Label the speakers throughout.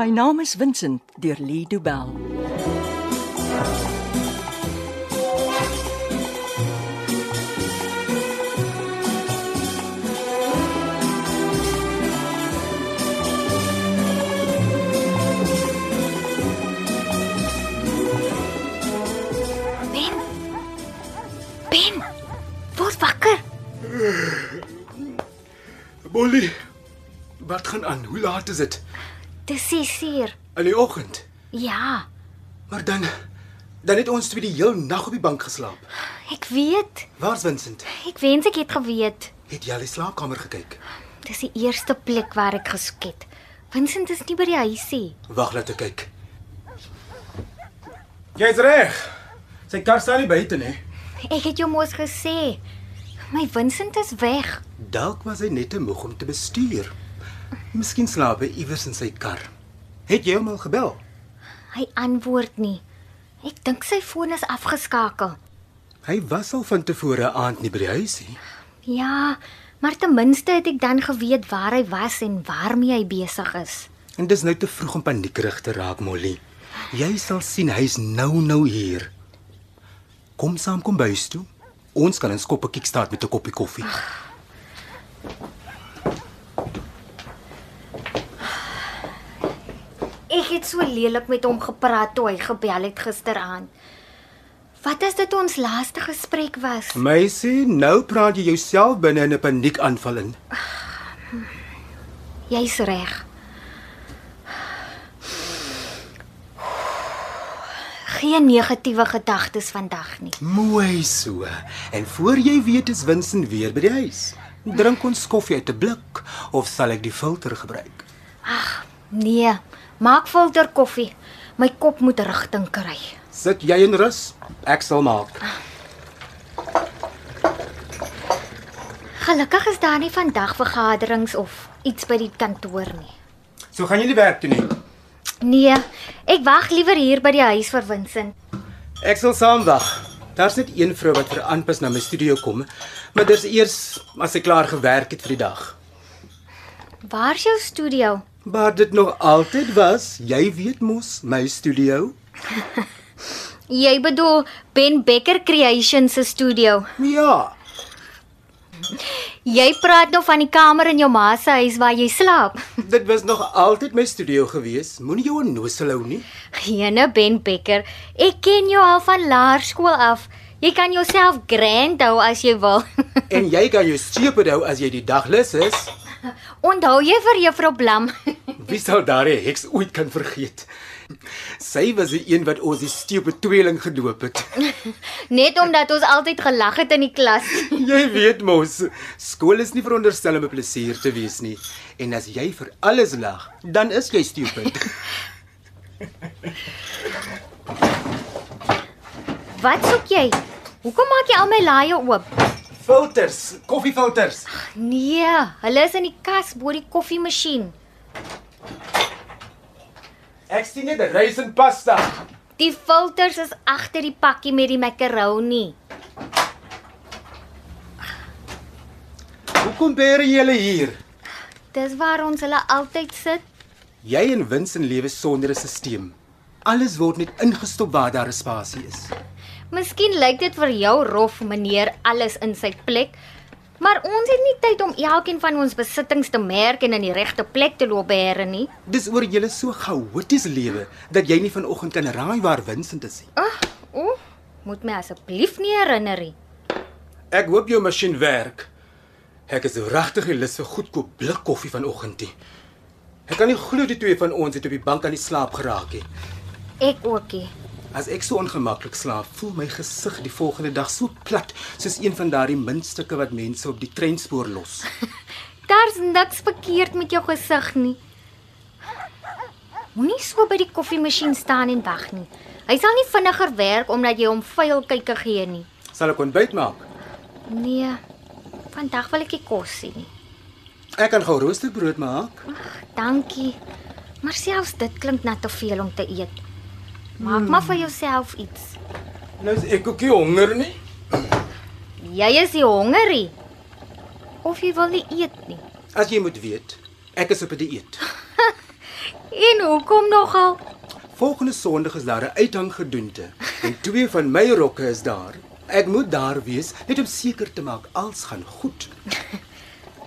Speaker 1: My naam is Vincent deur Lee Du Bell.
Speaker 2: Ben. Ben. Word wakker.
Speaker 3: Molly, wat gaan aan? Hoe laat is dit?
Speaker 2: Dis 6uur.
Speaker 3: In die oggend.
Speaker 2: Ja,
Speaker 3: Maar dan dan het ons twee die heel nag op die bank geslaap.
Speaker 2: ek weet.
Speaker 3: Waar's Vincent?
Speaker 2: Ek wens ek het geweet.
Speaker 3: Het jy al die slaapkamer gekyk?
Speaker 2: Dis die eerste plek waar ek gesoek het. Vincent is nie by die huisie.
Speaker 3: Wag laat ek kyk.
Speaker 4: Jy's reg. Sy kar staan nie buite nie.
Speaker 2: Ek het jou mos gesê. My Vincent is weg.
Speaker 3: Dalk was hy net te moeg om te bestuur. Miskien slaap hy iewers in sy kar. Het jy hom al gebel?
Speaker 2: Hy antwoord nie. Ek dink sy foon is afgeskakel.
Speaker 3: Hy was al van tevore aand nie by die huis nie.
Speaker 2: Ja, maar ten minste het ek dan geweet waar hy was en waarmee hy besig is.
Speaker 3: En dis nou te vroeg om paniekerig te raak, Molly. Jy sal sien hy's nou nou hier. Kom saam kom bys toe. Ons kan 'n skoppe kickstart met 'n koppie koffie.
Speaker 2: Ek het so lelik met hom gepraat toe hy gebel het gisteraand. Wat as dit ons laaste gesprek was?
Speaker 3: Meisie, nou praat jy jouself binne in 'n paniekaanval in.
Speaker 2: Jy's reg. Geen negatiewe gedagtes vandag nie.
Speaker 3: Mooi so. En voor jy weet is Winsen weer by die huis. Drink ons koffie uit 'n blik of sal ek die filter gebruik?
Speaker 2: Nee, maak filter koffie. My kop moet rigting kry.
Speaker 3: Sit jy in rus, ek sal maak.
Speaker 2: Gelukkig is daar nie vandag vergaderings of iets by die kantoor nie.
Speaker 4: So gaan jy nie werk toe nie.
Speaker 2: Nee, ek wag liewer hier by die huis vir Vincent.
Speaker 3: Ek sal saam wag. Daar's net een vrou wat vir aanpas na my studio kom, maar dis eers as sy klaar gewerk het vir die dag.
Speaker 2: Waar's jou studio?
Speaker 3: Maar dit nog altyd was, jy weet mos, my studio.
Speaker 2: Jy bedoel Ben Becker Creations se studio.
Speaker 3: Ja,
Speaker 2: Jy praat nou van die kamer in jou ma se huis waar jy slaap.
Speaker 3: dit was nog altyd my studio gewees. Moenie jou onnosel hou nie.
Speaker 2: Gene Ben Becker, ek ken jou al van laerskool af. Jy kan jouself grand hou as jy wil.
Speaker 3: En jy kan jou steep hou as jy die dag lus is.
Speaker 2: Onthou jy vir juffrou Blam?
Speaker 3: Wie sou daardie heks ooit kan vergeet? Sy was die een wat ons die steepe tweeling gedoop het.
Speaker 2: Net omdat ons altyd gelag het in die klas.
Speaker 3: Jy weet mos, skool is nie veronderstel om 'n plesier te wees nie. En as jy vir alles lag, dan is jy stupid.
Speaker 2: Wat soek jy? Hoekom maak jy al my laaie oop?
Speaker 4: Filters, koffiefilters.
Speaker 2: Nee, hulle is in die kas bo die koffiemasjien.
Speaker 4: Ek sien net rys en pasta.
Speaker 2: Die filters is agter die pakkie met die makaroni.
Speaker 3: Hoekom bêre julle hier?
Speaker 2: Dis waar ons hulle altyd sit.
Speaker 3: Jy en Winsin lewe sonder 'n stelsel. Alles word net ingestop waar daar 'n spasie is.
Speaker 2: Miskien lyk dit vir jou rof, meneer, alles in sy plek. Maar ons het nie tyd om elkeen van ons besittings te merk en in die regte plek te loop bære nie.
Speaker 3: Dis oor julle so chaoties lewe dat jy nie vanoggend kan raai waar Vincent is nie.
Speaker 2: Ag, o, moet my asseblief nie herinner nie.
Speaker 3: Ek hoop jou masjien werk. Ek is regtig nie lus vir goedkoop blik koffie vanoggend nie. Ek kan nie glo die twee van ons het op die bank aan die slaap geraak nie.
Speaker 2: Ek ookie.
Speaker 3: As ek so ongemaklik slaap, voel my gesig die volgende dag so plat soos een van daardie muntstukke wat mense op die treinspoor los.
Speaker 2: Daar's niks verkeerd met jou gesig nie. Moenie so by die koffiemasjien staan en wag nie. Hy sal nie vinniger werk omdat jy hom vuil kykie gee nie.
Speaker 3: Sal ek ontbyt maak?
Speaker 2: Nee. Vandag wil ek nie kos sien nie.
Speaker 3: Ek kan gou roosterbrood maak.
Speaker 2: Dankie. Maar selfs dit klink net te veel om te eet. Maak hmm. maar vir jouself iets.
Speaker 3: Nou is ek ook nie honger nie.
Speaker 2: Jy is nie hongerie. Of jy wil nie eet nie.
Speaker 3: As jy moet weet, ek is op 'n dieet.
Speaker 2: En hoekom nogal?
Speaker 3: Volgende Sondag is daar 'n uithanggedoente en twee van my rokke is daar. Ek moet daar wees net om seker te maak alles gaan goed.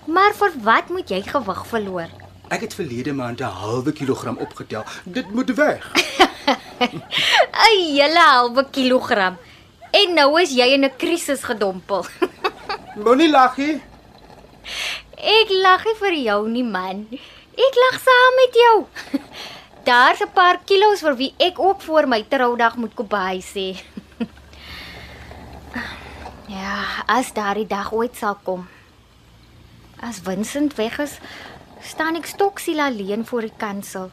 Speaker 2: Maar vir wat moet jy gewig verloor?
Speaker 3: Ek het verlede maand 'n halwe kilogram opgetel. Dit moet weg.
Speaker 2: 'n Hele halwe kilogram. En nou is jy in 'n krisis gedompel.
Speaker 4: Moenie lag nie.
Speaker 2: Ek lag nie vir jou nie, man. Ek lag saam met jou. Daar's 'n paar kilos vir wie ek ook voor my troudag moet koop by sê. Ja, as daardie dag ooit sal kom. As Vincent weg is, staan ek stoksiel alleen voor die kansel.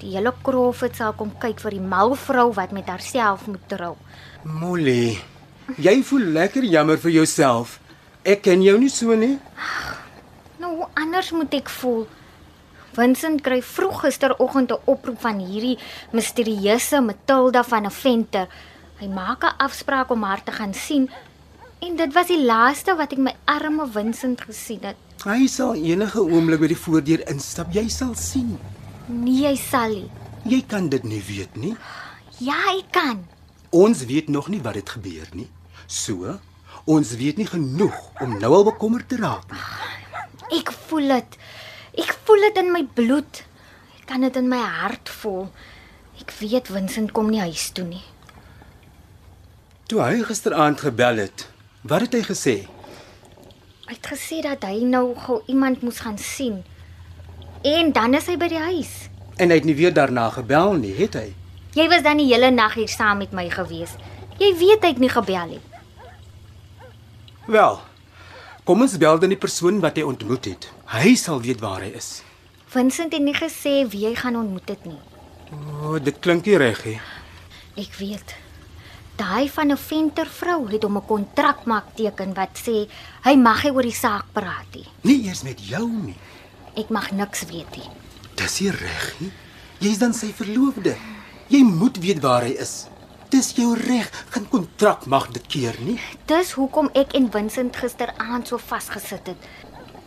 Speaker 2: Die hele Crawford sal kom kyk vir die mal vrou wat met haarself moet trou.
Speaker 3: Molly, jy voel lekker jammer vir jouself. Ek ken jou nie so nie.
Speaker 2: Nou, hoe anders moet ek voel? Vincent kry vroeg gisteroggend 'n oproep van hierdie misterieuse Matilda van 'n venter. Hy maak 'n afspraak om haar te gaan sien en dit was die laaste wat ek my arme Vincent gesien het.
Speaker 3: Hy sal enige oomblik by die voordeur instap. Jy sal sien.
Speaker 2: Nee, hy sal nie.
Speaker 3: Jy kan dit nie weet nie.
Speaker 2: Ja, ek kan.
Speaker 3: Ons weet nog nie wat dit gebeur nie. So, ons weet nie genoeg om nou al bekommerd te raak nie.
Speaker 2: Ek voel dit. Ek voel dit in my bloed. Ek kan dit in my hart voel. Ek weet Vincent kom nie huis toe nie.
Speaker 3: Toe hy gisteraand gebel het, wat het hy gesê?
Speaker 2: Hy het gesê dat hy nou gou iemand moes gaan sien. En dan is hy by die huis.
Speaker 3: En hy het nie weer daarna gebel nie, het hy?
Speaker 2: Jy was dan die hele nag hier saam met my gewees. Jy weet hy het nie gebel nie.
Speaker 3: Wel. Kom ons bel dan die persoon wat hy ontmoet het. Hy sal weet waar hy is.
Speaker 2: Vincent het nie gesê wie hy gaan ontmoet het nie.
Speaker 3: O, oh, dit klink nie reg nie.
Speaker 2: Ek weet. Daai van 'n venter vrou het hom 'n kontrak maak teken wat sê hy mag nie oor die saak praat nie.
Speaker 3: Nie eers met jou nie.
Speaker 2: Ek mag niks weet nie.
Speaker 3: Dis nie reg nie. Jy's dan sy verloofde. Jy moet weet waar hy is. Dis jou reg. Geen kontrak mag dit keer nie.
Speaker 2: Dis hoekom ek en Vincent gisteraand so vasgesit het.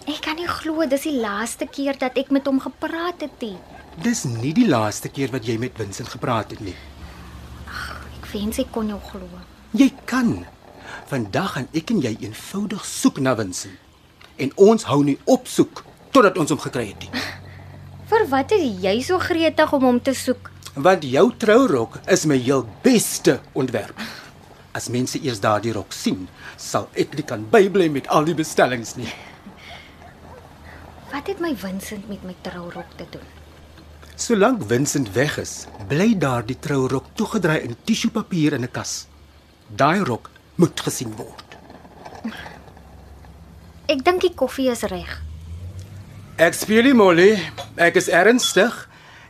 Speaker 2: Ek kan nie glo dis die laaste keer dat ek met hom gepraat het nie.
Speaker 3: Dis nie die laaste keer wat jy met Vincent gepraat het nie.
Speaker 2: Ek wens ek kon jou glo.
Speaker 3: Jy kan. Vandag gaan ek en jy eenvoudig soek na Vincent. En ons hou nie op soek totdat ons hom gekry het nie.
Speaker 2: Vir wat is jy so gretig om hom te soek?
Speaker 3: Want jou trourok is my heel beste ontwerp. As mense eers daardie rok sien, sal ek nie kan bybly met al die bestellings nie.
Speaker 2: Wat het my Vincent met my trourok te doen?
Speaker 3: Solank Vincent weg is, bly daardie trourok toegedraai in tissuepapier in 'n kas. Daai rok moet gesien word.
Speaker 2: Ek dink die koffie is reg.
Speaker 3: Ek speel nie Molly, ek is ernstig.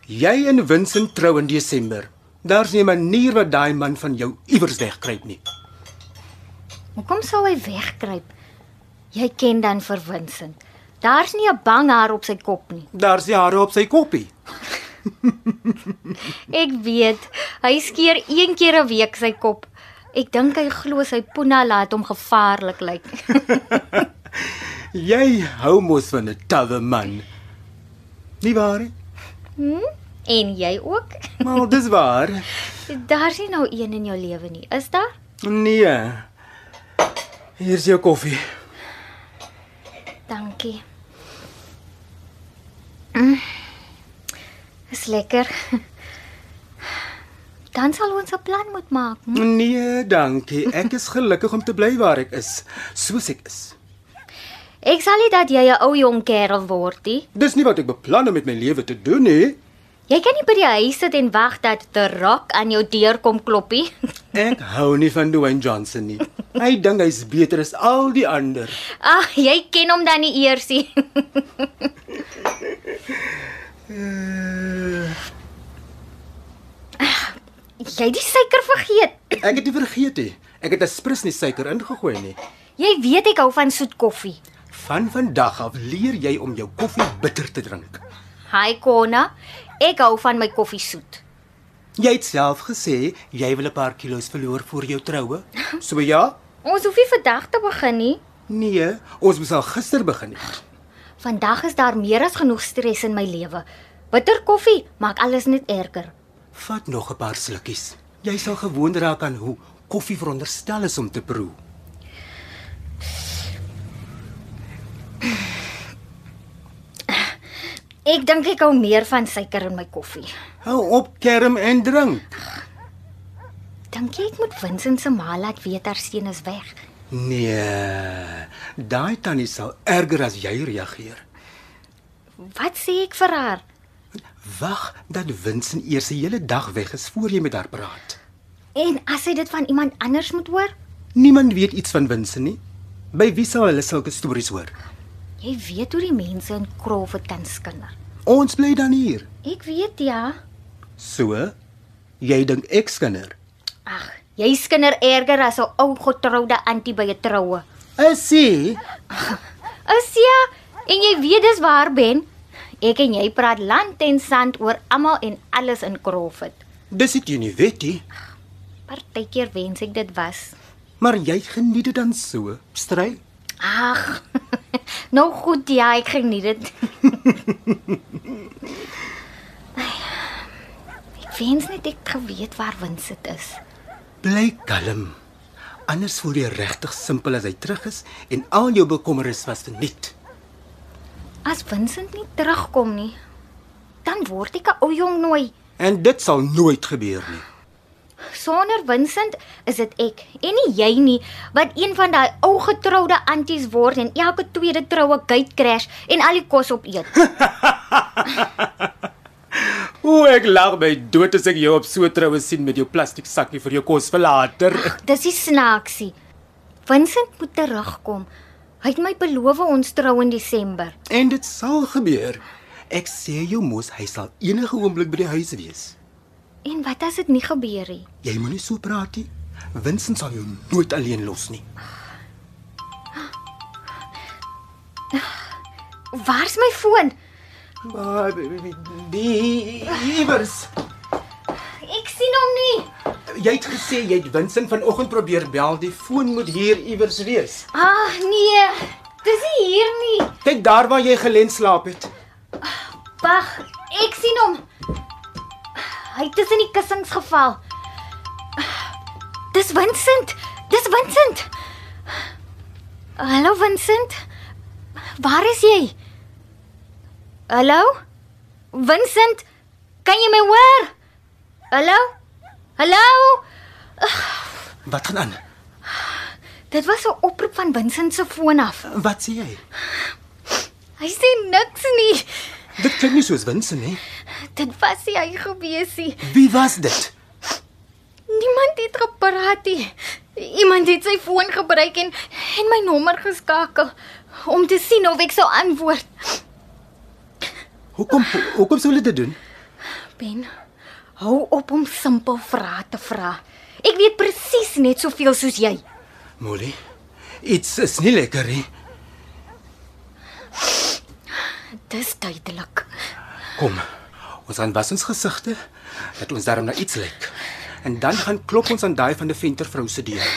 Speaker 3: Jy en Vincent trou in Desember. Daar's nie 'n manier wat daai man van jou iewers wegkruip nie.
Speaker 2: Hoekom sou hy wegkruip? Jy ken dan vir Vincent. Daar's nie 'n bang haar op sy kop nie.
Speaker 3: Daar's die hare op sy koppie.
Speaker 2: Ek weet, hy skeer een keer 'n week sy kop. Ek dink hy glo sy puna laat hom gevaarlik lyk.
Speaker 3: Jy hou mos van 'n tawwe man. Nie waar nie?
Speaker 2: Hm? En jy ook?
Speaker 3: Maar dis waar.
Speaker 2: Daar's nie nou een in jou lewe nie, is daar?
Speaker 3: Nee. Hier's jou koffie.
Speaker 2: Dankie. Mm. Is lekker. Dan sal ons 'n plan moet maak. hm?
Speaker 3: Nee, dankie. Ek is gelukkig om te bly waar ek is, soos ek is.
Speaker 2: Ek sal nie dat jy 'n ou jong kerel word nie.
Speaker 3: Dis nie wat ek beplan om met my lewe te doen nie.
Speaker 2: Jy kan nie by die huis sit en wag dat die rok aan jou deur kom kloppie.
Speaker 3: Ek hou nie van Dwayne Johnson nie. Hy dink hy's beter as al die ander.
Speaker 2: Ag, Ah, jy ken hom dan nie eers nie. Ag, Ah, Jy het die suiker vergeet.
Speaker 3: Ek het dit vergeet hè. Ek het aspres nie suiker ingegooi nie.
Speaker 2: Jy weet ek hou van soet koffie.
Speaker 3: Van vandag af leer jy om jou koffie bitter te drink.
Speaker 2: Hi Konna, ek hou van my koffie soet.
Speaker 3: Jy het self gesê jy wil 'n paar kilos verloor voor jou troue. So ja?
Speaker 2: Ons hoef nie vandag te begin nie.
Speaker 3: Nee, ons moes al gister begin het.
Speaker 2: Vandag is daar meer as genoeg stres in my lewe. Bitter koffie maak alles net erger.
Speaker 3: Vat nog 'n paar slukkies. Jy sal gewoond raak aan hoe koffie veronderstel is om te proe.
Speaker 2: Ek dink ek hou meer van suiker in my koffie.
Speaker 3: Hou op kerm en drink.
Speaker 2: Dink jy ek moet Vincent se ma laat weet haar seun is weg?
Speaker 3: Nee, daai tannie sal erger as jy reageer.
Speaker 2: Wat sê ek vir haar?
Speaker 3: Wag dat Vincent eers 'n hele dag weg is voor jy met haar praat.
Speaker 2: En as hy dit van iemand anders moet hoor?
Speaker 3: Niemand weet iets van Vincent nie. By wie sal hulle sulke stories hoor?
Speaker 2: Jy weet hoe die mense in Crawford tans kinder.
Speaker 3: Ons bly dan hier.
Speaker 2: Ek weet ja.
Speaker 3: So, jy dink ek skinder.
Speaker 2: Ag, jy skinder erger as 'n ou getroude antie by 'n troue.
Speaker 3: Is sy?
Speaker 2: Asia, en jy weet dis waar Ben. Ek en jy praat land en sand oor almal en alles in Crawford.
Speaker 3: Dis dit jy nie weet nie,
Speaker 2: Partykeer wens ek dit was.
Speaker 3: maar jy geniet dit dan so. Stry.
Speaker 2: Ag. Nou goed, ja, ek geniet dit. ek wens net ek het geweet waar Winsit is.
Speaker 3: Bly kalm. Anders voel jy regtig simpel as hy terug is en al jou bekommernis was verniet.
Speaker 2: As Vincent nie terugkom nie, dan word ek 'n ou jong nooi.
Speaker 3: En dit sal nooit gebeur nie.
Speaker 2: Sonder Vincent is dit ek en nie jy nie wat een van daai ou getroude anties word en elke tweede troue gate crash en al die kos opeet.
Speaker 3: O, ek lag my dood as ek jou op so troue sien met jou plastiek sakkie vir jou kos vir later.
Speaker 2: Dis die snaaksie. Vincent moet terugkom. Hy het my beloof ons trou in Desember.
Speaker 3: En dit sal gebeur. Ek sê jou mos hy sal enige oomblik by die huis wees.
Speaker 2: En wat as dit nie gebeur nie?
Speaker 3: Jy moenie so praat nie. Vincent sal jou nooit alleen los nie.
Speaker 2: Waar's my foon?
Speaker 4: Maar die iewers.
Speaker 2: Ek sien hom nie.
Speaker 3: Jy het gesê jy het Vincent vanoggend probeer bel. Die foon moet hier iewers wees.
Speaker 2: Ag nee. Dis nie hier nie.
Speaker 3: Kyk daar waar jy gelê slaap het.
Speaker 2: Wag, ek sien hom. Hy het tussen die kussings geval. Dis Vincent. Dis Vincent. Hallo Vincent. Waar is jy? Hallo? Vincent, kan jy my hoor? Hallo? Hallo?
Speaker 3: Wat gaan aan?
Speaker 2: Dit was 'n oproep van Vincent se foon af.
Speaker 3: Wat sê jy?
Speaker 2: Hy sê niks nie.
Speaker 3: Dit klink nie soos Vincent nie.
Speaker 2: Dit was nie hy gewees nie.
Speaker 3: Wie was dit?
Speaker 2: Niemand het gepraat nie. Iemand het sy foon gebruik en en my nommer geskakel om te sien of ek sou antwoord.
Speaker 3: Hoekom hoekom sou hulle dit doen?
Speaker 2: Ben, hou op om simpel vrae te vra. Ek weet presies net soveel soos jy.
Speaker 3: Molly, iets is nie lekker nie.
Speaker 2: Dis duidelik.
Speaker 3: Kom. Ons gaan was ons gesigte dat ons daarom na iets lyk. En dan gaan klop ons aan daai van die venter vrou se deur.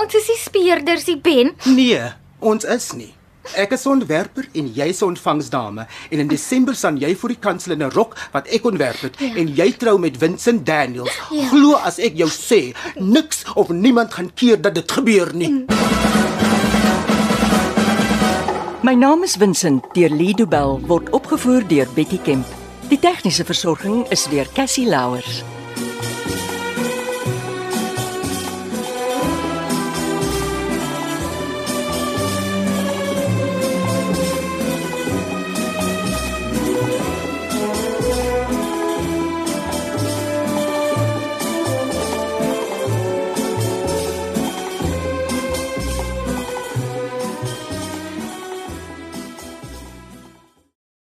Speaker 2: Ons is nie speerders nie, Ben.
Speaker 3: Nee, ons is nie. Ek is 'n ontwerper en jy's 'n ontvangsdame en in Desember staan jy voor die kansel in 'n rok wat ek ontwerp het ja. en jy trou met Vincent Daniels. Ja. Glo as ek jou sê, niks of niemand gaan keer dat dit gebeur nie.
Speaker 1: My naam is Vincent deur Lido Bell word opgevoer deur Betty Kemp. Die tegniese versorging is deur Cassie Louers.